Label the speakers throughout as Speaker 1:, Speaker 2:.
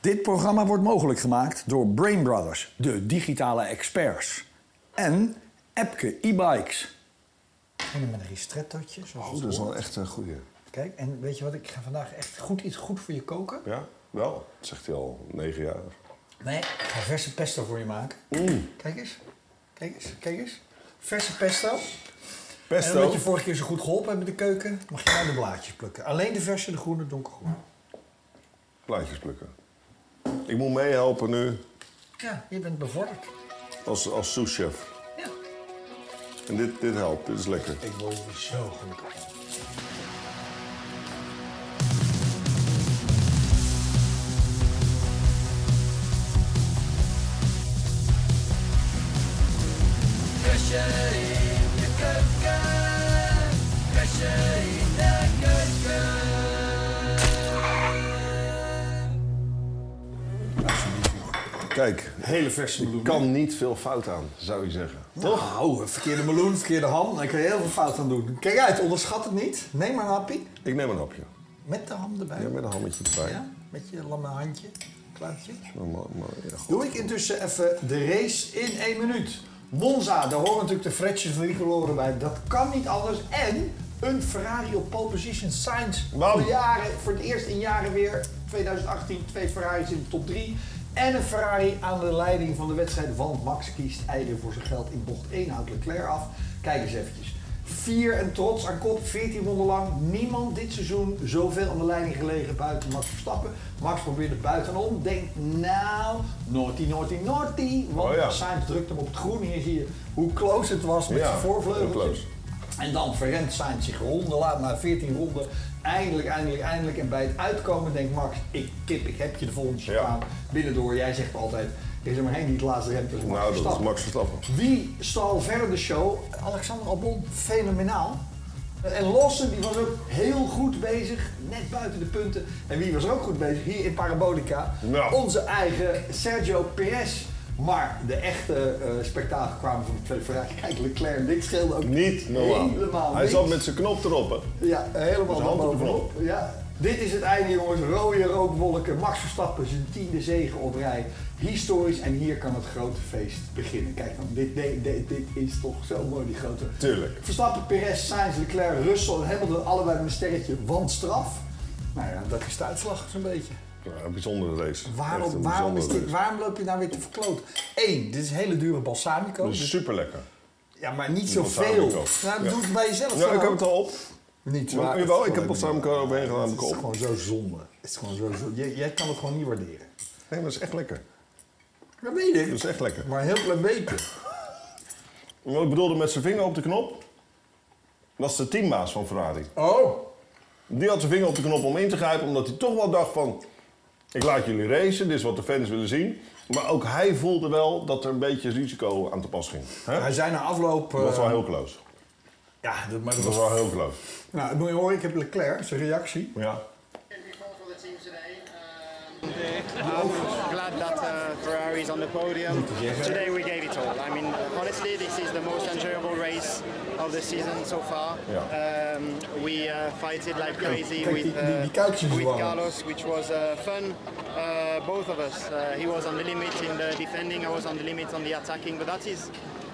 Speaker 1: Dit programma wordt mogelijk gemaakt door Brain Brothers, de digitale experts. En Epke e-bikes.
Speaker 2: Beginnen met een ristrettootje. Zoals
Speaker 3: Oh,
Speaker 2: het
Speaker 3: dat is wel
Speaker 2: hoort.
Speaker 3: echt een goeie.
Speaker 2: Kijk, en weet je wat? Ik ga vandaag echt goed iets goed voor je koken.
Speaker 3: Ja, wel. Dat zegt hij al negen jaar.
Speaker 2: Nee, ik ga verse pesto voor je maken. Kijk eens. Kijk eens. Kijk eens. Verse pesto. En
Speaker 3: Pesto.
Speaker 2: omdat je vorige keer zo goed geholpen hebt met de keuken, mag je nou de blaadjes plukken. Alleen de verse, de groene, donkergroene.
Speaker 3: Plaatjes plukken. Ik moet meehelpen nu
Speaker 2: Ja, je bent bevorderd.
Speaker 3: als, als souschef.
Speaker 2: Ja.
Speaker 3: En dit, dit helpt, dit is lekker.
Speaker 2: Ik word hier zo gelukkig. van.
Speaker 3: Kijk,
Speaker 1: Hele verse
Speaker 3: ik kan niet veel fout aan, zou je zeggen.
Speaker 2: Toch? Nou, verkeerde meloen, verkeerde ham. Daar kun je heel veel fout aan doen. Kijk uit, onderschat het niet. Neem maar een hapje.
Speaker 3: Ik neem een hapje.
Speaker 2: Met de ham erbij.
Speaker 3: Ja, met een hammetje erbij.
Speaker 2: Ja, met je lamme handje, kluitje.
Speaker 3: Maar, maar- maar- ja, goed.
Speaker 2: Doe ik intussen even de race in één minuut. Monza, daar horen natuurlijk de Fretjes Tricoloren bij. Dat kan niet anders. En een Ferrari op pole position. Sainz
Speaker 3: Bam.
Speaker 2: voor, de jaren, voor het eerst in jaren weer. 2018 twee Ferraris in de top 3. En een Ferrari aan de leiding van de wedstrijd. Want Max kiest eigen voor zijn geld in bocht 1. Houdt Leclerc af. Kijk eens eventjes. Vier en trots aan kop, 14 ronden lang. Niemand dit seizoen zoveel aan de leiding gelegen buiten Max Verstappen. Max probeert het buitenom. Denkt, nou, naughty, naughty, naughty. Want
Speaker 3: Oh ja.
Speaker 2: Sainz drukt hem op het groen. Hier zie je hoe close het was met
Speaker 3: Ja,
Speaker 2: zijn
Speaker 3: heel
Speaker 2: voorvleugeltjes.
Speaker 3: close.
Speaker 2: En dan verrent Sainz zich ronden laat na 14 ronden. Eindelijk, eindelijk, eindelijk. En bij het uitkomen denkt Max, ik kip, ik heb je de volgende
Speaker 3: Ja.
Speaker 2: baan. Binnendoor, jij zegt altijd, er is er maar één die het laatste rem is. Max
Speaker 3: Nou, dat is
Speaker 2: Verstappen.
Speaker 3: Max Verstappen.
Speaker 2: Wie stal verder de show? Alexander Albon, fenomenaal. En Lawson die was ook heel goed bezig, net buiten de punten. En wie was er ook goed bezig? Hier in Parabolica,
Speaker 3: Ja.
Speaker 2: onze eigen Sergio Perez. Maar de echte eh spektakel kwamen van de tweede Ferrari. Kijk, Leclerc en Dick scheelden ook
Speaker 3: Niet normaal.
Speaker 2: helemaal
Speaker 3: Hij
Speaker 2: niks.
Speaker 3: zat met zijn knop erop, hè.
Speaker 2: Ja, helemaal
Speaker 3: zijn hand op de
Speaker 2: daarbovenop. Ja. Dit is het einde, jongens. Rode rookwolken. Max Verstappen zijn tiende zege op rij. Historisch. En hier kan het grote feest beginnen. Kijk dan, dit, dit, dit, dit is toch zo mooi, die grote.
Speaker 3: Tuurlijk.
Speaker 2: Verstappen, Perez, Sainz, Leclerc, Russell en Hamilton. Allebei met een sterretje, want straf. Nou ja, dat is de uitslag zo'n beetje.
Speaker 3: Ja, een bijzondere race. Echt
Speaker 2: Waarom,
Speaker 3: een dus.
Speaker 2: waarom, is
Speaker 3: bijzondere
Speaker 2: dit,
Speaker 3: race.
Speaker 2: waarom loop je nou weer te verkloot? Eén, dit is een hele dure balsamico.
Speaker 3: Dat is
Speaker 2: Dus-
Speaker 3: super lekker.
Speaker 2: ja, maar niet
Speaker 3: Balsamico.
Speaker 2: zoveel. Nou,
Speaker 3: Ja.
Speaker 2: doe het bij jezelf.
Speaker 3: Ja,
Speaker 2: dan
Speaker 3: ik heb
Speaker 2: ook.
Speaker 3: het al op.
Speaker 2: Niet
Speaker 3: Maar,
Speaker 2: waar.
Speaker 3: jawel, ik heb
Speaker 2: Het is
Speaker 3: balsamico
Speaker 2: gewoon-
Speaker 3: eroverheen gedaan, heb ik
Speaker 2: Het is
Speaker 3: op.
Speaker 2: gewoon zo zonde. Het is gewoon zo zonde. Jij, jij kan het gewoon niet waarderen.
Speaker 3: Nee, maar dat is echt lekker.
Speaker 2: Dat weet ik.
Speaker 3: Dat is echt lekker.
Speaker 2: Maar een heel klein beetje.
Speaker 3: Wat ik bedoelde met zijn vinger op de knop, was de teambaas van Ferrari.
Speaker 2: Oh.
Speaker 3: Die had zijn vinger op de knop om in te grijpen, omdat hij toch wel dacht van... Ik laat jullie racen, dit is wat de fans willen zien. Maar ook hij voelde wel dat er een beetje risico aan te pas ging. Hè?
Speaker 2: Hij zei na afloop... eh,
Speaker 3: Dat was wel heel close.
Speaker 2: Ja, dat, maar dat
Speaker 3: Dat was
Speaker 2: was...
Speaker 3: wel heel close.
Speaker 2: Nou, moet je horen, ik heb Leclerc, zijn reactie.
Speaker 3: Ja.
Speaker 4: Um, Glad that uh, Ferrari's on the podium. Today we gave it all. I mean, honestly, this is the most enjoyable race of the season so far.
Speaker 3: Yeah.
Speaker 4: Um, we uh, fighted like crazy
Speaker 2: Kijk,
Speaker 4: with,
Speaker 2: die- die-
Speaker 4: uh,
Speaker 2: die kuitjes
Speaker 4: with
Speaker 2: waren.
Speaker 4: Carlos, which was uh, fun. Uh, both of us. Uh, he was on the limit in the defending. I was on the limit on the attacking. But that is,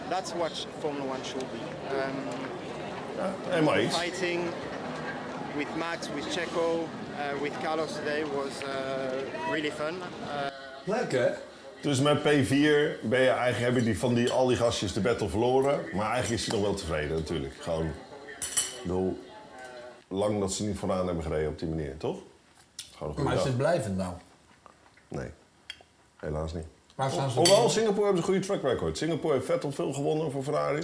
Speaker 4: that's what Formula One should be. Um,
Speaker 3: En maar iets.
Speaker 4: fighting with Max, with Checo, uh, with Carlos today was uh, really fun.
Speaker 2: Leuk, hè?
Speaker 3: Dus met P4 ben je eigenlijk, heb je die, van die, al die gastjes de battle verloren. Maar eigenlijk is hij nog wel tevreden natuurlijk. Gewoon, ik bedoel, lang dat ze niet vooraan hebben gereden op die manier, toch? Gewoon een goede
Speaker 2: Maar is
Speaker 3: dag.
Speaker 2: dit blijvend nou?
Speaker 3: Nee, helaas niet.
Speaker 2: Waar staan ze?
Speaker 3: Hoewel, Singapore hebben ze een goede track record. Singapore heeft vet op veel gewonnen voor Ferrari.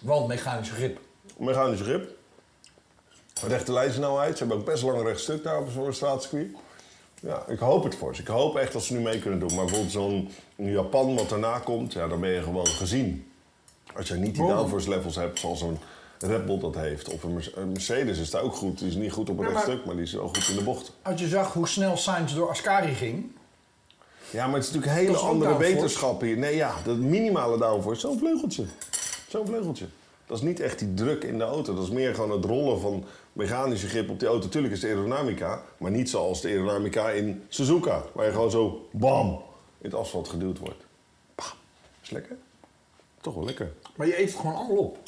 Speaker 2: Want mechanisch grip.
Speaker 3: Mechanisch grip. Rechte lijnsnelheid. Ze hebben ook best lang rechtstuk daar op zo'n straatcircuit. Ja, ik hoop het voor ze. Ik hoop echt dat ze nu mee kunnen doen. Maar bijvoorbeeld zo'n Japan wat daarna komt, ja, dan ben je gewoon gezien. Als je niet die
Speaker 2: Waarom?
Speaker 3: downforce levels hebt zoals een Red Bull dat heeft. Of een Merce- een Mercedes is daar ook goed. Die is niet goed op een
Speaker 2: Ja, maar-
Speaker 3: rechtstuk, maar die is wel goed in de bocht.
Speaker 2: Als je zag hoe snel Sainz door Ascari ging...
Speaker 3: Ja, maar het is natuurlijk hele
Speaker 2: Dat is ook
Speaker 3: andere
Speaker 2: downforce.
Speaker 3: wetenschap hier. Nee, ja, dat minimale downforce. Zo'n vleugeltje. Zo'n vleugeltje. Dat is niet echt die druk in de auto. Dat is meer gewoon het rollen van mechanische grip op die auto. Tuurlijk is de aerodynamica, maar niet zoals de aerodynamica in Suzuka. Waar je gewoon zo bam in het asfalt geduwd wordt. Bam. Is lekker. Toch wel lekker.
Speaker 2: Maar je eet het gewoon allemaal op.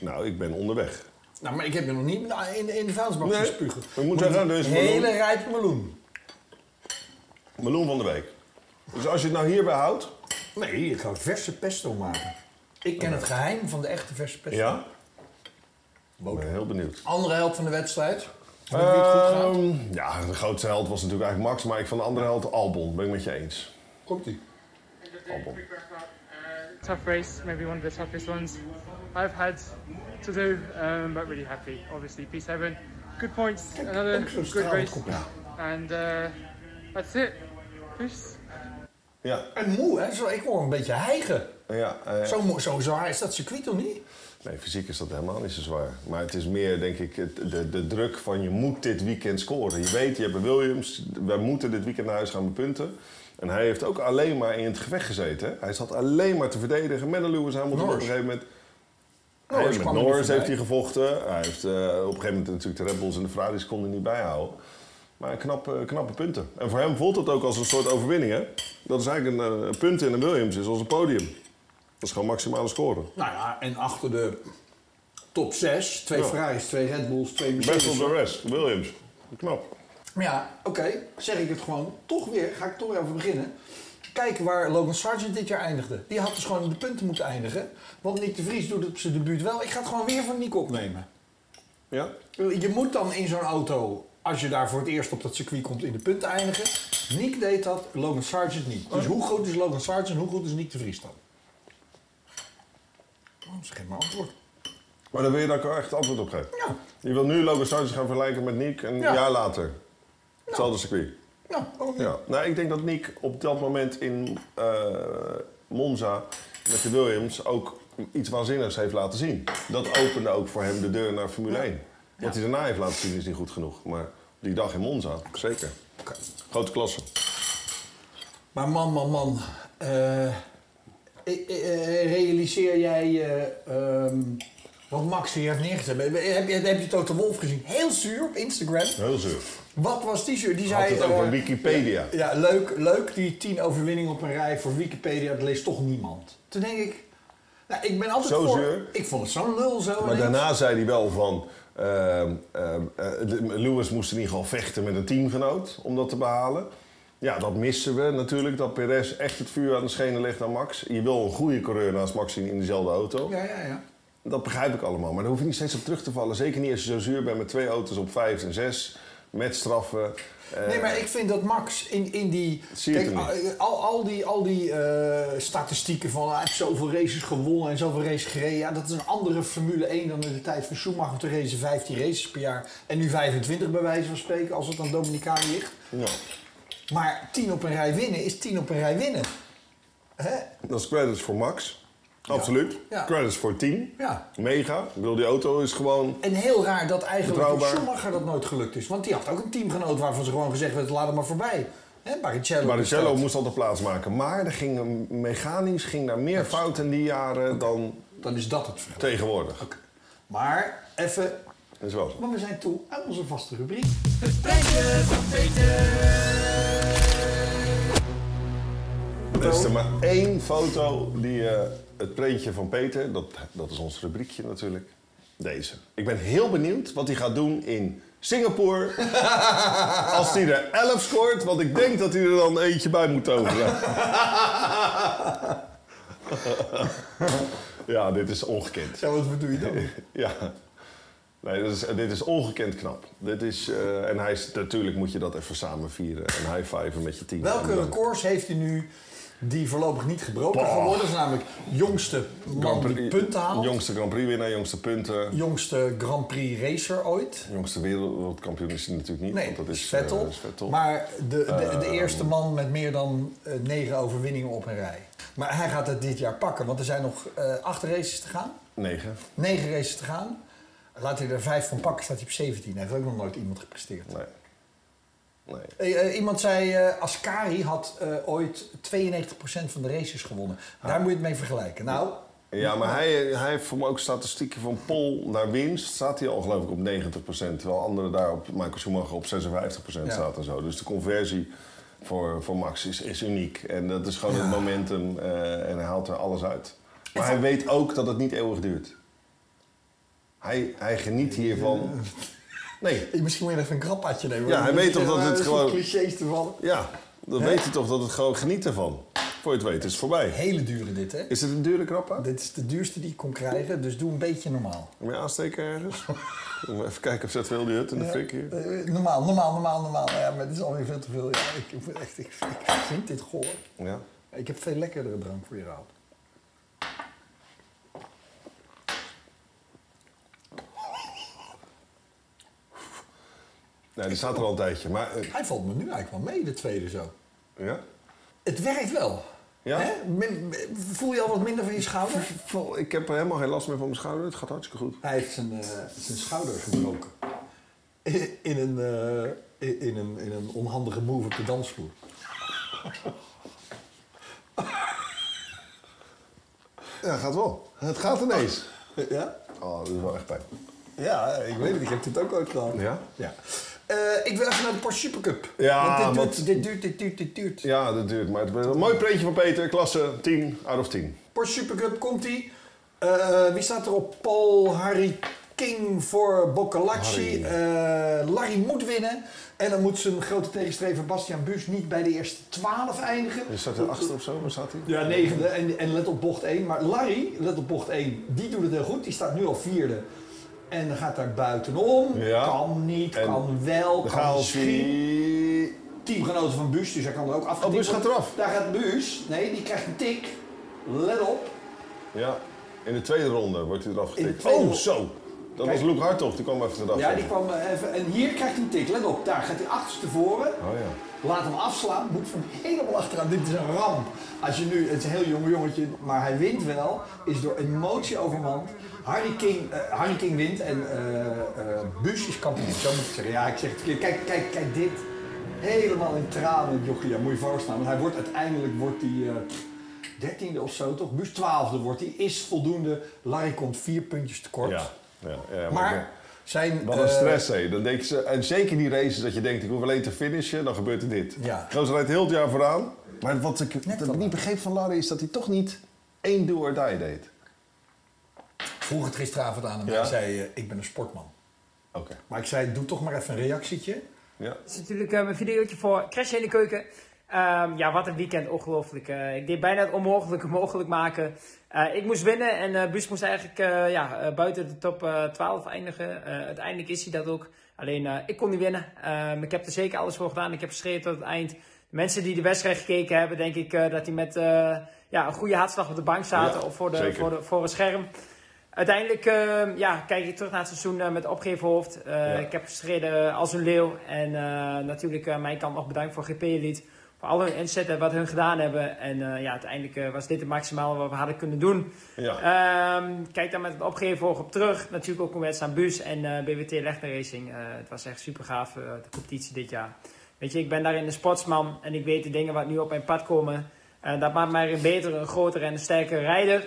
Speaker 3: Nou, ik ben onderweg.
Speaker 2: Nou, maar ik heb je nog niet in de- in, in de vuilnisbak
Speaker 3: Nee,
Speaker 2: gespugen.
Speaker 3: we moeten
Speaker 2: Maar
Speaker 3: gaan,
Speaker 2: die
Speaker 3: dus we
Speaker 2: hele
Speaker 3: doen-
Speaker 2: rijpe meloen.
Speaker 3: Meloen van de week. Dus als je het nou hierbij houdt.
Speaker 2: Nee, ik ga verse pesto maken. Ik ken het geheim van de echte verse pesto.
Speaker 3: Oh, Ja? Ik ben heel benieuwd.
Speaker 2: Andere helft van de wedstrijd. Met wie het goed gaat.
Speaker 3: Ehm, ja, de grootste held was natuurlijk eigenlijk Max, maar ik van de andere held Albon. Ben ik met je eens.
Speaker 2: Komt ie.
Speaker 3: Albon.
Speaker 5: tough race, maybe one of the toughest ones I've had to do, um, but really happy. Obviously, P7, good points, another
Speaker 2: ook zo'n
Speaker 5: good
Speaker 2: stralend
Speaker 5: race,
Speaker 2: kopje.
Speaker 5: and uh, that's it. Peace.
Speaker 3: Ja,
Speaker 2: En moe, hè? Zo, ik hoor hem een beetje hijgen.
Speaker 3: ja. eh,
Speaker 2: Zo, moe- zo zwaar is dat circuit toch niet?
Speaker 3: Nee, fysiek is dat helemaal niet zo zwaar. Maar het is meer, denk ik, het- de, de druk van je moet dit weekend scoren. Je weet, je hebt een Williams, wij moeten dit weekend naar huis gaan met punten. En hij heeft ook alleen maar in het gevecht gezeten. hè. Hij zat alleen maar te verdedigen met een Lewis Hamilton op
Speaker 2: Norris.
Speaker 3: een gegeven moment.
Speaker 2: Norris
Speaker 3: Hij heeft met
Speaker 2: kwam er niet
Speaker 3: Norris heeft
Speaker 2: voorbij.
Speaker 3: hij gevochten. Hij heeft eh, op een gegeven moment natuurlijk de Red Bulls en de Ferraris konden niet bijhouden. Maar knappe, knappe punten. En voor hem voelt het ook als een soort overwinning, hè? Dat is eigenlijk een eh, punt in een Williams, is als een podium. Dat is gewoon maximale scoren.
Speaker 2: Nou ja, en achter de top 6, twee
Speaker 3: Ja.
Speaker 2: Ferraris, twee Red Bulls, twee
Speaker 3: Best of
Speaker 2: Mercedes.
Speaker 3: the rest, Williams. Knap.
Speaker 2: Maar ja, oké, zeg ik het gewoon. Toch weer, ga ik toch weer over beginnen. Kijk waar Logan Sargent dit jaar eindigde. Die had dus gewoon in de punten moeten eindigen. Want Nick de Vries doet het op zijn debuut wel. Ik ga het gewoon weer van Nick opnemen.
Speaker 3: Ja?
Speaker 2: Je moet dan in zo'n auto, als je daar voor het eerst op dat circuit komt, in de punten eindigen. Nick deed dat, Logan Sargent niet.
Speaker 3: Oh.
Speaker 2: Dus hoe goed is Logan Sargent, hoe goed is Nick de Vries dan? Oh, dat is geen maar antwoord.
Speaker 3: Maar dan wil je dat ik er echt antwoord op geef.
Speaker 2: Ja.
Speaker 3: Je wil nu Logan Sargent gaan vergelijken met Nick een
Speaker 2: Ja.
Speaker 3: jaar later. Hetzelfde circuit.
Speaker 2: Nou, ook niet.
Speaker 3: Ja. Nou, ik denk dat Nick op dat moment in eh, Monza met de Williams ook iets waanzinnigs heeft laten zien. Dat opende ook voor hem de deur naar Formule 1. Wat hij daarna heeft laten zien is niet goed genoeg. Maar die dag in Monza, zeker.
Speaker 2: Oké.
Speaker 3: Grote klasse.
Speaker 2: Maar man, man, man. eh, eh, eh, realiseer jij eh, ehm, wat Max hier heeft neergezet? Heb je, heb je- heb je Toto Wolf gezien? Heel zuur op Instagram.
Speaker 3: Heel zuur.
Speaker 2: Wat was die zuur? Die
Speaker 3: Had
Speaker 2: zei...
Speaker 3: het over
Speaker 2: eh,
Speaker 3: Wikipedia.
Speaker 2: Ja, leuk, leuk die tien overwinningen op een rij voor Wikipedia. Dat leest toch niemand. Toen denk ik... Nou, ik ben altijd
Speaker 3: Zo
Speaker 2: voor...
Speaker 3: zuur?
Speaker 2: Ik vond het zo'n lul zo.
Speaker 3: Maar
Speaker 2: ineens.
Speaker 3: daarna zei hij wel van... ehm, ehm, eh, Lewis moest in ieder geval vechten met een teamgenoot om dat te behalen. Ja, dat missen we natuurlijk. Dat Perez echt het vuur aan de schenen legt aan Max. Je wil een goede coureur naast Max zien in dezelfde auto.
Speaker 2: Ja, ja, ja.
Speaker 3: Dat begrijp ik allemaal. Maar daar hoef je niet steeds op terug te vallen. Zeker niet als je zo zuur bent met twee auto's op vijf en zes. Met straffen. Eh,
Speaker 2: Nee, maar ik vind dat Max in, in die. eh,
Speaker 3: Zie je het er
Speaker 2: al, al die, al die eh, statistieken van hij heeft zoveel races gewonnen en zoveel races gereden. Ja, dat is een andere Formule 1 dan in de tijd van Schumacher. Te racen 15 races per jaar en nu 25 bij wijze van spreken, als het aan Dominicaan ligt.
Speaker 3: ja,
Speaker 2: Maar 10 op een rij winnen is 10 op een rij winnen. Hè?
Speaker 3: dat is credits voor Max. Absoluut.
Speaker 2: Ja.
Speaker 3: Credits voor het team.
Speaker 2: Ja.
Speaker 3: Mega. Ik bedoel, die auto is gewoon...
Speaker 2: En heel raar dat eigenlijk
Speaker 3: Betrouwbaar.
Speaker 2: Schumacher dat nooit gelukt is. Want die had ook een teamgenoot waarvan ze gewoon gezegd werd: laat hem maar voorbij. Hè? Barrichello.
Speaker 3: Barrichello
Speaker 2: bestelt.
Speaker 3: moest altijd plaatsmaken. Maar er ging, mechanisch ging daar meer fout in die jaren dan
Speaker 2: Dan is dat het verschil.
Speaker 3: tegenwoordig.
Speaker 2: Maar even
Speaker 3: Dat is wel zo.
Speaker 2: Maar we zijn toe aan onze vaste rubriek.
Speaker 3: Er is er maar één foto die eh, het prentje van Peter, dat, dat is ons rubriekje natuurlijk, deze. Ik ben heel benieuwd wat hij gaat doen in Singapore als hij er 11 scoort. Want ik denk dat hij er dan eentje bij moet toveren. ja, dit is ongekend.
Speaker 2: Ja, wat doe je dan?
Speaker 3: Ja. Nee, dit is, dit is ongekend knap. Dit is, eh, en hij is, natuurlijk moet je dat even samen vieren. En high-fiven met je team.
Speaker 2: Welke
Speaker 3: En dan-
Speaker 2: records heeft hij nu die voorlopig niet gebroken
Speaker 3: Bah.
Speaker 2: gaan worden? Dat is namelijk jongste man die punten haalt.
Speaker 3: Jongste Grand Prix winnaar, jongste punten.
Speaker 2: Jongste Grand Prix racer ooit.
Speaker 3: Jongste wereldkampioen is hij natuurlijk niet.
Speaker 2: Nee,
Speaker 3: want dat is
Speaker 2: Vettel.
Speaker 3: eh, is Vettel. Eh,
Speaker 2: Maar de, de, de eerste man met meer dan eh, negen overwinningen op een rij. Maar hij gaat het dit jaar pakken, want er zijn nog eh, acht races te gaan.
Speaker 3: Negen.
Speaker 2: Negen races te gaan. Laat hij er vijf van pakken, staat hij op 17. Hij heeft ook nog nooit iemand gepresteerd.
Speaker 3: Nee. Nee.
Speaker 2: Eh, eh, iemand zei, eh,
Speaker 3: Ah.
Speaker 2: Ascari had eh, ooit 92% van de races gewonnen. Daar moet je het mee vergelijken. Nou,
Speaker 3: Ja, maar hij, hij heeft voor me ook statistieken van Pol naar winst. Staat hij al geloof ik op 90%. Terwijl anderen daar op Michael Schumacher op 56% staat en zo. Dus de conversie voor, voor Max is, is uniek. En dat is gewoon het momentum. eh, en hij haalt er alles uit. Maar hij weet ook dat het niet eeuwig duurt. Hij, hij geniet hiervan. Nee,
Speaker 6: Misschien moet je even een grappatje nemen.
Speaker 3: Ja, hij
Speaker 6: want
Speaker 3: weet
Speaker 6: er
Speaker 3: toch dat
Speaker 6: zijn
Speaker 3: het
Speaker 2: Eh,
Speaker 6: een soort
Speaker 3: gewoon-
Speaker 6: clichés te vallen.
Speaker 3: ja, dan weet hij toch dat het gewoon geniet ervan. Voor je het weet, is het voorbij.
Speaker 2: Hele dure dit, hè?
Speaker 3: Is het een dure krappa?
Speaker 2: Dit is de duurste die ik kon krijgen, dus doe een beetje normaal.
Speaker 3: Moet je aansteken ergens? Even kijken of zet heel die hut in de fik hier.
Speaker 2: Eh, normaal, normaal, normaal, normaal. Nou Ja, maar dit is alweer veel te veel. Ja, ik, ik, word echt, ik, ik vind dit goor.
Speaker 3: Ja.
Speaker 2: Ik heb veel lekkerdere drank voor je gehaald.
Speaker 3: Nee, die staat er al een tijdje. Maar eh,
Speaker 2: Hij valt me nu eigenlijk wel mee, de tweede zo.
Speaker 3: ja.
Speaker 2: Het werkt wel.
Speaker 3: Ja?
Speaker 2: Hè? Min- min- voel je al wat minder van je schouder?
Speaker 3: Vol- Ik heb er helemaal geen last meer van mijn schouder. Het gaat hartstikke goed.
Speaker 2: Hij heeft zijn, eh, zijn schouder gebroken. In, in een, eh, in, in een, in een onhandige move op de dansvloer.
Speaker 3: Ja, gaat wel. Het gaat ineens.
Speaker 2: ja?
Speaker 3: Oh, dat is wel echt pijn.
Speaker 2: Ja, ik weet het. Ik heb dit ook ooit gehad.
Speaker 3: Ja?
Speaker 2: ja. Eh, ik wil even naar de Porsche Supercup.
Speaker 3: Ja,
Speaker 2: Want dit, duurt,
Speaker 3: want-
Speaker 2: dit duurt, dit duurt, dit duurt.
Speaker 3: Ja, dat duurt. Maar het is een mooi preetje van Peter. Klasse 10 out of 10.
Speaker 2: Porsche Supercup komt ie. Eh, wie staat er op? Paul Harry King voor Boccalacci. Eh, Larry moet winnen. En dan moet zijn grote tegenstrever Bastian Buus niet bij de eerste 12 eindigen.
Speaker 3: Je staat er achter of zo. Waar staat hij?
Speaker 2: Ja, negende. En, en let op bocht 1. Maar Larry, let op bocht 1, die doet het heel goed. Die staat nu al vierde. En gaat daar buitenom.
Speaker 3: Ja.
Speaker 2: Kan niet,
Speaker 3: En
Speaker 2: kan wel,
Speaker 3: De
Speaker 2: kan
Speaker 3: chaos.
Speaker 2: misschien. Teamgenoten van Buus, dus hij kan er ook afgetikt
Speaker 3: Oh, Buus gaat
Speaker 2: worden.
Speaker 3: eraf.
Speaker 2: Daar gaat Buus. Nee, die krijgt een tik. Let op.
Speaker 3: Ja. In de tweede ronde wordt hij eraf
Speaker 2: In de
Speaker 3: getikt.
Speaker 2: tweede
Speaker 3: Oh,
Speaker 2: ronde.
Speaker 3: zo. Dat was Luke Hartog. Die kwam even eraf.
Speaker 2: Ja, die kwam eh, even. En hier krijgt hij een tik. Let op, daar gaat hij achterstevoren.
Speaker 3: Oh ja.
Speaker 2: Laat hem afslaan, moet van helemaal achteraan. Dit is een ramp. Als je nu, het is een heel jong jongetje, maar hij wint wel, is door emotie overmand. Harry King, eh, Harry King wint en eh eh, Buus is kampioen. Zo moet ik zeggen. Ja, ik zeg het verkeerd. Kijk, kijk, kijk dit. Helemaal in tranen, het jochie. Ja, moet je voorstaan. Want hij wordt uiteindelijk, wordt hij eh, dertiende of zo toch? Buus twaalfde wordt hij, is voldoende. Larry komt vier puntjes tekort.
Speaker 3: Ja. ja, ja, maar ik
Speaker 2: Maar
Speaker 3: ben-
Speaker 2: zijn...
Speaker 3: Wat een
Speaker 2: eh,
Speaker 3: stress, hé. Dan denk je, ze- en zeker die races dat je denkt, ik hoef alleen te finishen, dan gebeurt er dit.
Speaker 2: Ja.
Speaker 3: Gozer rijdt heel het jaar vooraan. Maar wat ik
Speaker 2: Net
Speaker 3: dat
Speaker 2: wel.
Speaker 3: niet begreep van Larry is dat hij toch niet één do or die deed.
Speaker 2: vroeg het gisteravond aan hem.
Speaker 3: Ja.
Speaker 2: Hij zei, eh, ik ben een sportman.
Speaker 3: Oké.
Speaker 2: Maar ik zei, doe toch maar even een reactietje.
Speaker 3: Ja.
Speaker 7: is natuurlijk eh, mijn videootje voor Crash in de Keuken. Ehm, ja, wat een weekend, ongelooflijk. Eh, ik deed bijna het onmogelijke mogelijk maken. Eh, ik moest winnen en eh Bus moest eigenlijk eh, ja, eh, buiten de top eh, 12 eindigen. Eh, uiteindelijk is hij dat ook. Alleen eh, ik kon niet winnen. Ehm, ik heb er zeker alles voor gedaan. Ik heb geschreven tot het eind. De mensen die de wedstrijd gekeken hebben, denk ik eh, dat die met eh, ja, een goede hartslag op de bank zaten
Speaker 3: Ja,
Speaker 7: of voor, de,
Speaker 3: zeker.
Speaker 7: voor, de, voor het scherm. Uiteindelijk eh, ja, kijk ik terug naar het seizoen eh, met opgeheven hoofd. Eh, Ik heb gestreden als een leeuw. En eh, natuurlijk eh, mijn kant nog bedankt voor GP Elite. Voor al hun inzet en wat hun gedaan hebben. En eh, ja, uiteindelijk eh, was dit het maximale wat we hadden kunnen doen.
Speaker 3: Ja.
Speaker 7: Ehm, kijk daar met het opgeheven oog op terug. Natuurlijk ook een wedstrijd aan Buus en eh, BWT Lechner Racing. Eh, het was echt super gaaf, eh, de competitie dit jaar. Weet je, ik ben daarin een sportsman en ik weet de dingen wat nu op mijn pad komen. Eh, dat maakt mij een betere, een grotere en een sterkere rijder.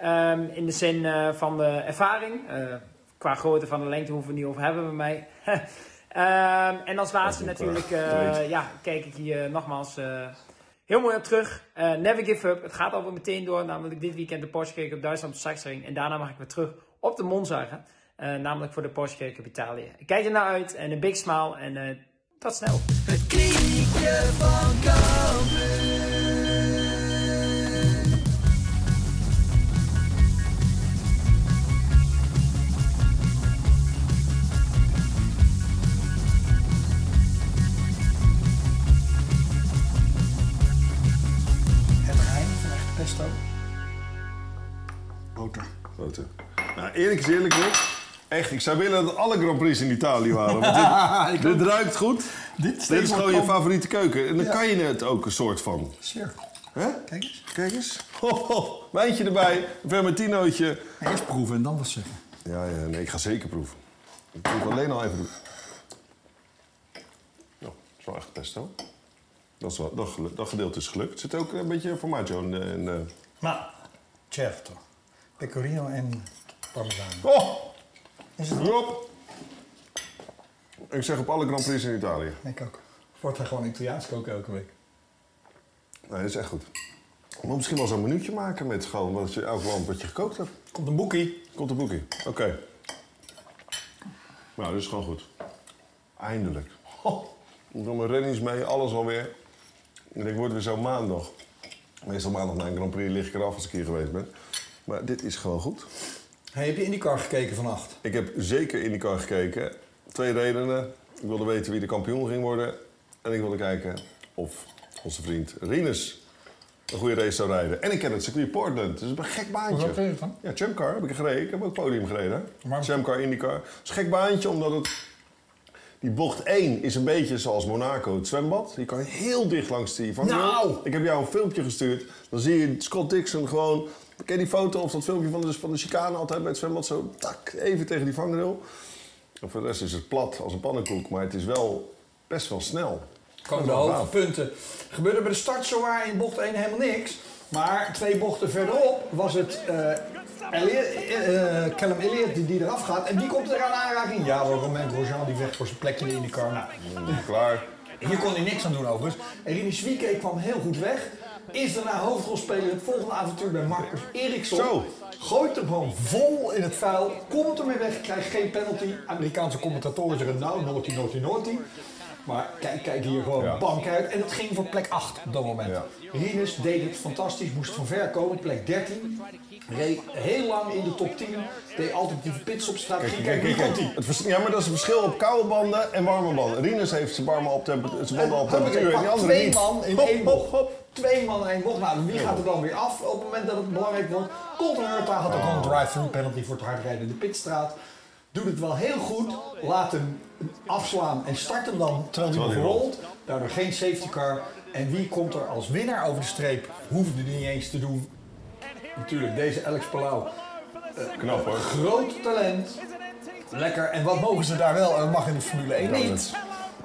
Speaker 7: Ehm, in de zin eh, van de ervaring. Eh, qua grootte van de lengte hoeven we het niet over hebben bij mij. Ehm, en als laatste
Speaker 3: Dat is een
Speaker 7: natuurlijk,
Speaker 3: vraag.
Speaker 7: eh,
Speaker 3: Dat weet
Speaker 7: ja, kijk ik hier eh, nogmaals eh, heel mooi op terug. Eh, never give up. Het gaat alweer meteen door. Namelijk dit weekend de Porsche Cup op Duitsland op Sachsenring. En daarna mag ik weer terug op de Monzagen. Eh, namelijk voor de Porsche Cup op Italië. Ik kijk er naar uit en een big smile. En eh, tot snel.
Speaker 2: Het geheim van echt pesto.
Speaker 6: Boter.
Speaker 3: Grote. Nou, eerlijk is eerlijk, Rick. Echt, ik zou willen dat alle Grand Prix in Italië waren. want dit, dit ruikt goed. Ah, Dit, is gewoon je favoriete keuken. En dan kan je het ook een soort van.
Speaker 2: Cirkel.
Speaker 3: Hè?
Speaker 2: Kijk eens.
Speaker 3: Kijk eens. Ho, ho. Wijntje erbij, een vermentinootje.
Speaker 2: Eerst proeven en dan wat zeggen.
Speaker 3: Ja, ja, nee, ik ga zeker proeven. Ik proef alleen al even. Nou, dat is wel echt pesto. Dat, is wel, dat, gelu- dat gedeelte is gelukt. Zit ook een beetje formaggio in de... In de
Speaker 2: Maar, certo. Pecorino en parmezaan.
Speaker 3: Oh,
Speaker 2: Is het?
Speaker 3: Rob. Ik zeg op alle Grand Prix in Italië.
Speaker 2: Ik ook. Wordt hij gewoon Italiaans koken elke week?
Speaker 3: Nee, dat is echt goed. Maar misschien wel zo'n minuutje maken met gewoon wat je, elk land wat je gekookt hebt.
Speaker 2: Komt een boekie.
Speaker 3: Komt een boekie. Oké. Nou, dat is gewoon goed. Eindelijk. Ho, ik doe mijn rennings mee, alles alweer. En ik word weer zo maandag. Meestal maandag na een Grand Prix lig ik eraf als ik hier geweest ben. Maar dit is gewoon goed.
Speaker 2: Hey, heb je in die kar gekeken vannacht?
Speaker 3: Ik heb zeker in die kar gekeken. Twee redenen. Ik wilde weten wie de kampioen ging worden. En ik wilde kijken of onze vriend Rinus een goede race zou rijden. En ik ken het circuit Portland. Dus het is een gek baantje.
Speaker 2: Wat vind je ervan?
Speaker 3: Ja, Champ Car heb ik gereden. Ik heb ook podium gereden.
Speaker 2: Maar-
Speaker 3: Champ Car, IndyCar. Het is een gek baantje omdat het... Die bocht 1 is een beetje zoals Monaco, het zwembad. Je kan heel dicht langs die vangrail.
Speaker 2: Nou!
Speaker 3: Ik heb jou een filmpje gestuurd. Dan zie je Scott Dixon gewoon... Ken je die foto of dat filmpje van de, van de chicane altijd bij het zwembad? Zo, tak, even tegen die vangrail. En voor de rest is het plat als een pannenkoek. Maar het is wel best wel snel.
Speaker 2: Komen de
Speaker 3: Oh, nou, Wauw.
Speaker 2: hoge punten. Gebeurde bij de start zowaar in bocht 1 helemaal niks. Maar twee bochten verderop was het eh Elliot, eh, eh, Callum Elliott die, die eraf gaat. En die komt er aan aanraking. Ja, op het moment Grosjean die vecht voor zijn plekje in de car. Nou,
Speaker 3: Klaar.
Speaker 2: hier kon hij niks aan doen overigens. En Rini Zwieke kwam heel goed weg. Is daarna hoofdrolspeler het volgende avontuur bij Marcus Eriksson.
Speaker 3: Zo.
Speaker 2: Gooit hem gewoon vol in het vuil. Komt ermee weg, krijgt geen penalty. Amerikaanse commentatoren zeggen nou, naughty, naughty, naughty. Maar kijk, kijk hier gewoon
Speaker 3: Ja.
Speaker 2: bank uit. En dat ging voor plek 8 op dat moment.
Speaker 3: Ja.
Speaker 2: Rinus deed het fantastisch, moest van ver komen, plek 13. Reed heel lang in de top 10. Deed altijd die pits op straat. Ging kijken, hier komt hij.
Speaker 3: Het vers- ja, maar dat is het verschil op koude banden en warme banden. Rinus heeft zijn, barmen op temperatuur, zijn banden op
Speaker 2: Huppakee,
Speaker 3: temperatuur en die
Speaker 2: pak
Speaker 3: andere
Speaker 2: twee
Speaker 3: niet.
Speaker 2: man in
Speaker 3: Hop,
Speaker 2: één
Speaker 3: hop,
Speaker 2: bocht.
Speaker 3: hop.
Speaker 2: Twee man in één bocht. Nou, wie gaat er dan weer af op het moment dat het belangrijk wordt? Colton Hurta had ook al een drive-through penalty voor het hardrijden in de pitstraat. Doet het wel heel goed. Laat hem afslaan en start hem dan terwijl hij
Speaker 3: Terwijl
Speaker 2: nog
Speaker 3: hij rolt.
Speaker 2: rolt. Daardoor geen safety car. En wie komt er als winnaar over de streep? Hoefde die niet eens te doen. Natuurlijk deze Alex Palau.
Speaker 3: Knap hoor.
Speaker 2: Groot talent. Lekker. En wat mogen ze daar wel en mag in de Formule 1 niet?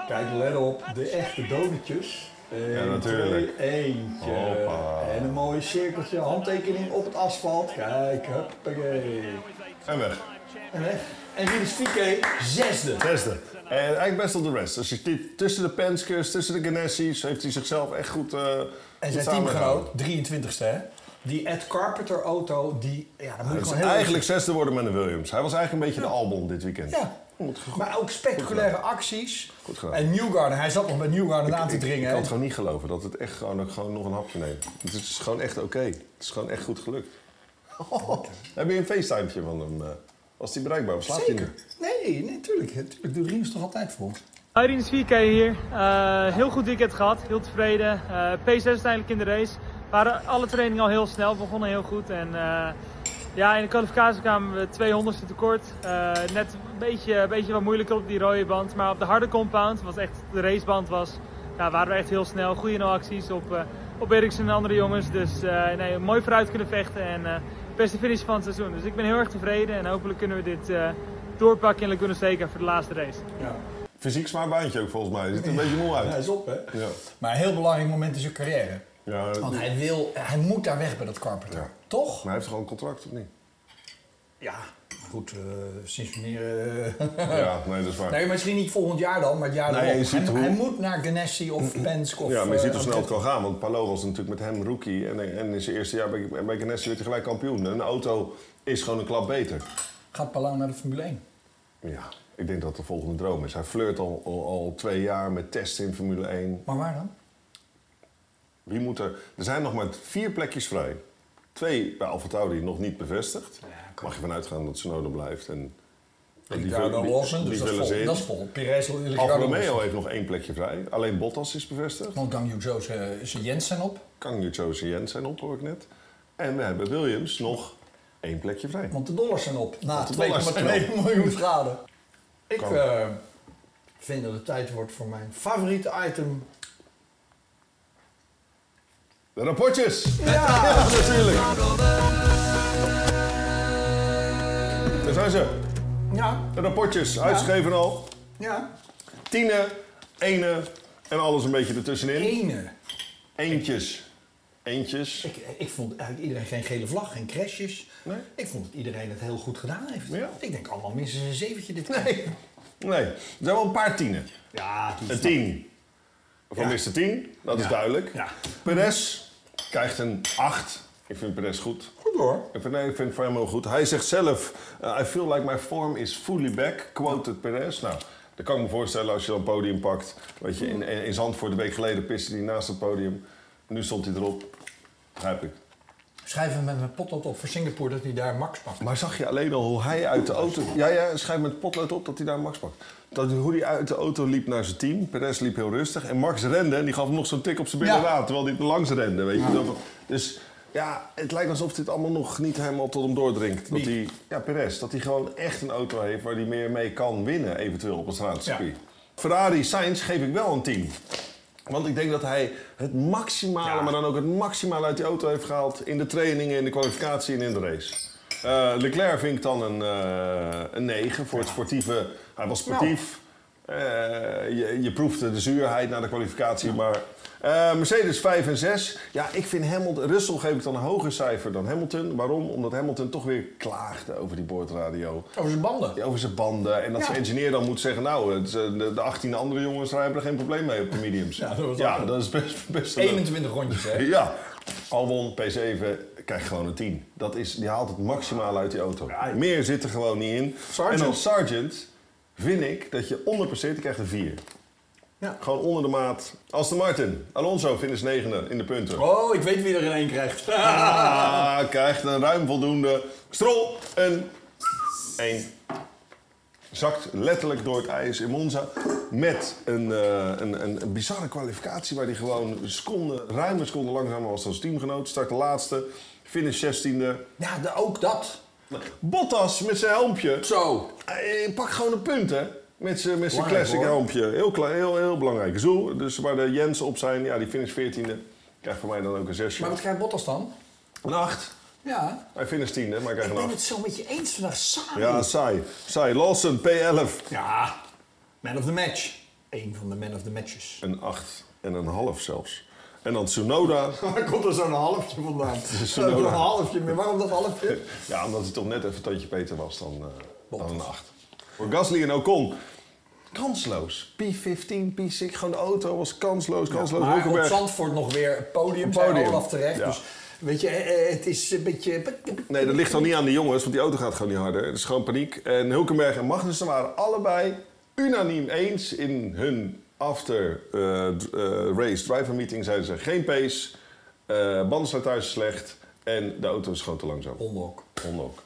Speaker 2: Kijk, let op. De echte donetjes. Eén,
Speaker 3: Ja, natuurlijk.
Speaker 2: twee, eentje.
Speaker 3: Hoppa.
Speaker 2: En een mooie cirkeltje. Handtekening op het asfalt. Kijk, huppakee.
Speaker 3: En weg.
Speaker 2: En weg. En hier is Fieke, zesde.
Speaker 3: Beste. En eigenlijk best wel de rest. Dus je ziet tussen de Penskers, tussen de Ganessi's, heeft hij zichzelf echt goed eh
Speaker 2: En zijn teamgenoot, 23ste hè? Die Ed Carpenter auto, die... Ja, dat moet ik
Speaker 3: Het is
Speaker 2: gewoon heel
Speaker 3: eigenlijk zesde worden met de Williams. Hij was eigenlijk een beetje de Albon dit weekend.
Speaker 2: Ja. Maar ook spectaculaire acties.
Speaker 3: Goed gedaan.
Speaker 2: En Newgarden, hij zat nog bij Newgarden aan te
Speaker 3: Ik, ik
Speaker 2: dringen.
Speaker 3: kan
Speaker 2: hè?
Speaker 3: het gewoon niet geloven dat het echt gewoon, dat ik gewoon nog een hapje neem. Het is gewoon echt oké. Het is gewoon echt goed gelukt. Heb je een FaceTime van hem? eh? Was hij bereikbaar? Of slaapt hij nu?
Speaker 2: Zeker. Nee, nee, tuurlijk. Tuurlijk doet Rinus toch altijd voor ons.
Speaker 5: Irene Svike hier. Eh, heel goed weekend gehad, heel tevreden. Eh, P6 uiteindelijk in de race. Waren alle trainingen al heel snel, begonnen heel goed. En eh, ja, in de kwalificatie kwamen we 200ste tekort. Eh, net een beetje, een beetje wat moeilijker op die rode band. Maar op de harde compound, wat echt de raceband was, ja, waren we echt heel snel. Goede nulacties op, eh op Eriksen en andere jongens. Dus eh, nee, mooi vooruit kunnen vechten. En eh, beste finish van het seizoen. Dus ik ben heel erg tevreden. En hopelijk kunnen we dit eh, doorpakken in Laguna Seca voor de laatste race.
Speaker 2: Ja.
Speaker 3: Fysiek zwaar baantje ook volgens mij. Hij ziet er een beetje moe
Speaker 2: Hij
Speaker 3: uit.
Speaker 2: is op, hè?
Speaker 3: Ja.
Speaker 2: Maar een heel belangrijk moment in zijn carrière.
Speaker 3: Ja,
Speaker 2: Want
Speaker 3: maar
Speaker 2: hij, wil, hij moet daar weg bij dat Carpenter.
Speaker 3: Ja.
Speaker 2: Toch?
Speaker 3: hij heeft gewoon een contract of niet?
Speaker 2: Ja. Goed, eh sinds wanneer... eh,
Speaker 3: Ja, nee, dat is waar.
Speaker 2: nee, misschien niet volgend jaar dan, maar het jaar
Speaker 3: Nee,
Speaker 2: daarop.
Speaker 3: je ziet
Speaker 2: hij,
Speaker 3: hoe-
Speaker 2: hij moet naar Ganassi of Penske of...
Speaker 3: Ja, maar je
Speaker 2: eh,
Speaker 3: ziet hoe snel het
Speaker 2: Andretti.
Speaker 3: kan gaan. Want Palo was natuurlijk met hem rookie. En, en in zijn eerste jaar bij, bij Ganassi werd hij gelijk kampioen. En een auto is gewoon een klap beter.
Speaker 2: Gaat Palau naar de Formule 1?
Speaker 3: Ja, ik denk dat de volgende droom is. Hij flirt al, al, al twee jaar met testen in Formule 1.
Speaker 2: Maar waar dan?
Speaker 3: Wie moet er... Er zijn nog maar vier plekjes vrij. Twee bij AlphaTauri nog niet bevestigd. Mag je vanuit gaan dat Sonoda blijft. En en
Speaker 2: Ricardo
Speaker 3: wil-
Speaker 2: Lawson, dus
Speaker 3: die
Speaker 2: dat is
Speaker 3: willen ze
Speaker 2: vol.
Speaker 3: in.
Speaker 2: Dat is vol. Perez,
Speaker 3: Alfa
Speaker 2: Ricardo
Speaker 3: Romeo heeft nog één plekje vrij. Alleen Bottas is bevestigd.
Speaker 2: Want Dang Joe eh, zijn Jens zijn op.
Speaker 3: Kang Yucho's en Jens zijn op, hoor ik net. En we hebben Williams nog één plekje vrij.
Speaker 2: Want de dollars zijn op. Na
Speaker 3: de dollars zijn
Speaker 2: 2,2 miljoen schade. Ik
Speaker 3: Kan.
Speaker 2: eh, vind dat het tijd wordt voor mijn favoriete item.
Speaker 3: De rapportjes!
Speaker 2: Ja!
Speaker 3: Ja, natuurlijk! Daar zijn ze.
Speaker 2: Ja,
Speaker 3: De rapportjes, uitgeschreven al.
Speaker 2: ja.
Speaker 3: Tienen, ene en alles een beetje ertussenin.
Speaker 2: Ene.
Speaker 3: Eentjes. eentjes.
Speaker 2: Ik, ik vond eigenlijk iedereen geen gele vlag, geen crashes.
Speaker 3: Nee.
Speaker 2: Ik vond dat iedereen het heel goed gedaan heeft.
Speaker 3: Ja.
Speaker 2: Ik denk allemaal minstens een zeventje dit keer.
Speaker 3: Nee. Nee, er zijn wel een paar tienen.
Speaker 2: Ja, die
Speaker 3: Een tien van
Speaker 2: Ja.
Speaker 3: Mr. 10, dat is
Speaker 2: Ja.
Speaker 3: duidelijk.
Speaker 2: Ja.
Speaker 3: Perez krijgt een 8. Ik vind Perez goed.
Speaker 2: Goed hoor.
Speaker 3: Ik vind, nee, ik vind het voor hem heel goed. Hij zegt zelf, eh, I feel like my form is fully back, quoted Perez. Nou, dat kan ik me voorstellen als je dan een podium pakt. Weet je, in, in Zandvoort een week geleden piste hij naast het podium. Nu stond hij erop. Begrijp ik.
Speaker 2: Schrijf hem met mijn potlood op voor Singapore dat hij daar Max pakt.
Speaker 3: Maar zag je alleen al hoe hij uit de auto... Ja, ja, schrijf met potlood op dat hij daar Max pakt. Dat, hoe hij uit de auto liep naar zijn team. Perez liep heel rustig. En Max rende en die gaf hem nog zo'n tik op zijn binnenraad. Terwijl hij er langs rende, weet je. Dat- dus ja, het lijkt alsof dit allemaal nog niet helemaal tot hem doordringt. Dat hij, ja, Perez, dat hij gewoon echt een auto heeft waar hij meer mee kan winnen. Eventueel op het straatcircuit. Ferrari Sainz geef ik wel een 10. Want ik denk dat hij het maximale, maar dan ook het maximale uit die auto heeft gehaald. In de trainingen, in de kwalificatie en in de race. Eh, Leclerc vind ik dan een, eh, een 9 voor het sportieve. Hij was sportief. Eh, je, je proefde de zuurheid na de kwalificatie. Maar eh, Mercedes 5 en 6. Ja, ik vind Hamilton. Russell geef ik dan een hoger cijfer dan Hamilton. Waarom? Omdat Hamilton toch weer klaagde over die boordradio.
Speaker 2: Over Oh, zijn banden.
Speaker 3: Ja, Over zijn banden. En dat zijn engineer dan moet zeggen: Nou, het, eh, de, de 18 andere jongens daar hebben er geen probleem mee op de mediums.
Speaker 2: Ja, dat was
Speaker 3: ja,
Speaker 2: ook-
Speaker 3: dat is best, best een-
Speaker 2: 21 rondjes, hè?
Speaker 3: Ja. Albon P7 krijgt gewoon een 10. Dat is, die haalt het maximaal uit die auto. Meer zit er gewoon niet in.
Speaker 2: Sargent.
Speaker 3: En als sergeant vind ik dat je onder per se krijgt een 4.
Speaker 2: Ja.
Speaker 3: Gewoon onder de maat. Aston Martin. Alonso vindt is negende in de punten.
Speaker 2: Oh, ik weet wie er in één krijgt.
Speaker 3: Ah, krijgt een ruim voldoende. Strol een 1. Zakt letterlijk door het ijs in Monza. Met een, eh, een, een, een bizarre kwalificatie waar hij gewoon een seconde, ruim een seconde langzamer was dan zijn teamgenoot. Start de laatste, finish 16e.
Speaker 2: Ja, de- ook dat.
Speaker 3: Bottas met zijn helmpje.
Speaker 2: Zo.
Speaker 3: Hij pakt gewoon een punt, hè? Met zijn met zijn
Speaker 2: Belangrijk,
Speaker 3: classic
Speaker 2: hoor.
Speaker 3: helmpje. Heel, klein, heel, heel belangrijk. Zo, dus waar de Jens op zijn, ja, die finish 14e. Krijgt voor mij dan ook een zesje.
Speaker 2: Maar wat krijgt Bottas dan?
Speaker 3: Een 8.
Speaker 2: Ja.
Speaker 3: Hij finisht 10, hè, maar hij krijgt
Speaker 2: Ik
Speaker 3: een
Speaker 2: ben
Speaker 3: 8.
Speaker 2: het zo met je eens vandaag samen.
Speaker 3: Ja, saai. Saai. Lawson, P11.
Speaker 2: Ja, man of the match. Eén van de man of the matches.
Speaker 3: Een 8 en een half zelfs. En dan Tsunoda.
Speaker 2: Waar komt er zo'n halfje vandaan?
Speaker 3: Tsunoda.
Speaker 2: Zo'n halfje meer. Waarom dat halfje?
Speaker 3: Ja, omdat hij toch net even een tandje beter was dan, eh, dan een 8. Voor Gasly en Ocon. Kansloos. P15, P6. Gewoon de auto was kansloos. Kansloos.
Speaker 2: Maar op
Speaker 3: Hulkenberg.
Speaker 2: Zandvoort nog weer een podium,
Speaker 3: Podium.
Speaker 2: podium. Olaf terecht.
Speaker 3: Ja.
Speaker 2: Dus weet je, eh, eh, het is een beetje...
Speaker 3: Nee, dat ligt dan niet aan de jongens, want die auto gaat gewoon niet harder. Het is gewoon paniek. En Hulkenberg en Magnussen waren allebei unaniem eens in hun eh, after-race driver meeting. Zeiden ze geen pace, eh bandensluitage is slecht en de auto is gewoon te langzaam.
Speaker 2: Onlok.
Speaker 3: Honda ook.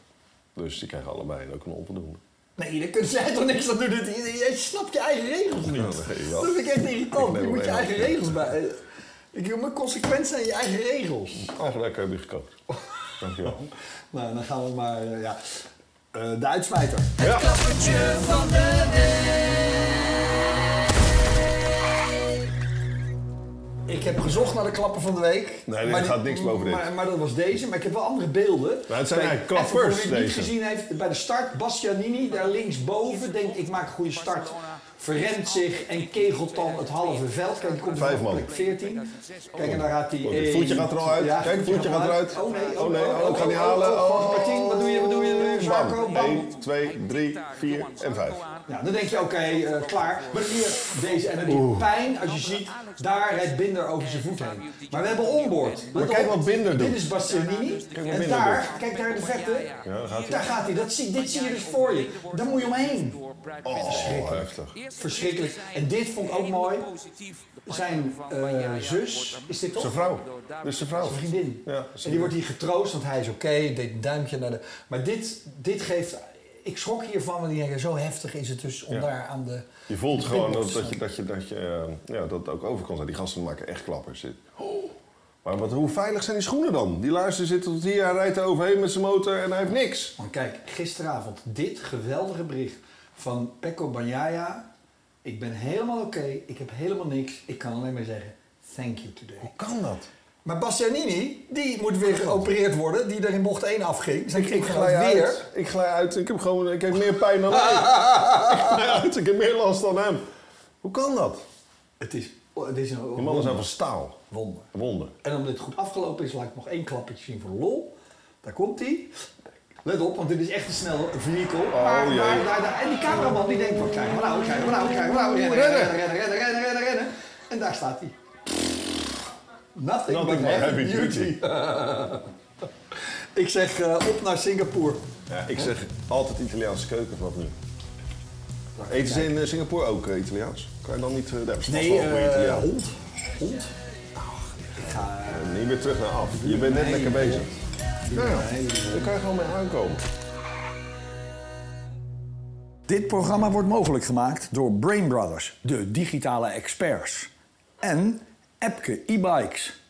Speaker 3: Dus die krijgen allebei ook een onvoldoende.
Speaker 2: Nee, daar kun jij toch niks aan doen. Dit- je- Jij snapt je eigen regels niet.
Speaker 3: Ja, dat geef je wel.
Speaker 2: dat vind ik echt
Speaker 3: Ik
Speaker 2: irritant. Je
Speaker 3: neem hem
Speaker 2: moet je
Speaker 3: even.
Speaker 2: eigen regels bij... eh, Ik wil mijn consequent zijn je eigen regels.
Speaker 3: Eigenlijk heb je gekookt. Dankjewel.
Speaker 2: Nou, dan gaan we maar... eh, ja. Eh, de uitsmijter.
Speaker 3: Ja.
Speaker 2: Ik heb gezocht naar de klappen van de week.
Speaker 3: Nee, er
Speaker 2: maar
Speaker 3: gaat niks boven dit.
Speaker 2: Maar, maar dat was deze. Maar ik heb wel andere beelden.
Speaker 3: Maar het zijn
Speaker 2: Kijk,
Speaker 3: eigenlijk klappers,
Speaker 2: even voor wie het
Speaker 3: deze.
Speaker 2: niet gezien heeft, bij de start, Bastianini daar linksboven. Denkt, ik maak een goede start. Verrent zich en kegelt dan het halve veld. Kijk, die komt
Speaker 3: Vijf
Speaker 2: op
Speaker 3: man.
Speaker 2: plek 14. Kijk, en daar gaat eh, hij...
Speaker 3: Oh, het voetje gaat er al uit. Kijk, het voetje gaat eruit.
Speaker 2: Oh nee,
Speaker 3: Oh, nee, oh, ik ga niet halen.
Speaker 2: oh, oh,
Speaker 3: Oh.
Speaker 2: Martien, wat doe je, wat doe je, wat doe je, Marco?
Speaker 3: Bam.
Speaker 2: Bam.
Speaker 3: 1, 2, 3, 4 en 5.
Speaker 2: Ja, dan denk je, oké, eh, klaar. Maar hier, deze en dan die pijn, als je ziet, daar rijdt Binder over zijn voet heen. Maar we hebben onboard. Let
Speaker 3: Maar kijk
Speaker 2: op.
Speaker 3: wat Binder doet.
Speaker 2: Dit is Bastianini. en
Speaker 3: Binder
Speaker 2: daar, kijk daar de vechten. daar gaat hij. Dat zie, dit zie je dus voor je. Daar moet je omheen.
Speaker 3: Oh, heftig.
Speaker 2: Verschrikkelijk. En dit vond ik ook mooi. Zijn eh, zus, is dit toch?
Speaker 3: Zijn vrouw. Dus zijn vrouw.
Speaker 2: Zijn vriendin.
Speaker 3: Ja,
Speaker 2: en die wordt hier getroost, want hij is oké, deed een duimpje naar de... Maar dit, dit geeft... Ik schrok hiervan, want ik denk, zo heftig is het dus om
Speaker 3: Ja.
Speaker 2: daar aan de...
Speaker 3: Je voelt gewoon dat,
Speaker 2: pitbox te
Speaker 3: dat je, dat, je, dat, je, eh, ja, dat het ook over kan zijn. Die gasten maken echt klappers. Dit. Maar wat, hoe veilig zijn die schoenen dan? Die luister zit tot hier, hij rijdt er overheen met zijn motor en hij heeft niks.
Speaker 2: Want kijk, gisteravond dit geweldige bericht van Pecco Bagnaia. Ik ben helemaal oké, ik heb helemaal niks. Ik kan alleen maar zeggen, thank you today.
Speaker 3: Kan dat?
Speaker 2: Maar Bastianini, die moet weer geopereerd worden. Die er in bocht 1 afging. Zijn
Speaker 3: Ik
Speaker 2: ik
Speaker 3: glij
Speaker 2: gaat weer.
Speaker 3: uit. Ik glij uit. Ik heb gewoon ik heb meer pijn dan hij. ik glij uit. Ik heb meer last dan hem. Hoe kan dat?
Speaker 2: Het is... oh, het is een,
Speaker 3: Die mannen zijn van staal.
Speaker 2: Wonder.
Speaker 3: Wonder.
Speaker 2: En omdat het goed afgelopen is, laat ik nog één klappertje zien voor de lol. Daar komt hij. Let op, want dit is echt een snelle vehicle. Oh,
Speaker 3: jee.
Speaker 2: en die cameraman die denkt, wat krijgen we nou, wat krijgen we nou, wat krijgen we nou. Rennen, rennen, rennen, rennen, rennen, rennen, rennen, rennen. En daar staat hij. Nothing,
Speaker 3: Nothing
Speaker 2: but
Speaker 3: but
Speaker 2: heavy
Speaker 3: heavy
Speaker 2: duty. ik zeg eh, op naar Singapore.
Speaker 3: Ja, ik zeg altijd Italiaanse keuken vanaf nu. Eten ze in eh, Singapore ook eh, Italiaans? Kan je dan niet... eh, daar hebben ze vast
Speaker 2: Nee,
Speaker 3: wel goede
Speaker 2: eh,
Speaker 3: Italiaans.
Speaker 2: hond. Hond.
Speaker 3: Niet meer terug naar af. Je bent net lekker bezig. Nou ja, daar kan je gewoon mee aankomen.
Speaker 8: Dit programma wordt mogelijk gemaakt door Brain Brothers, de digitale experts. En Epke e-bikes.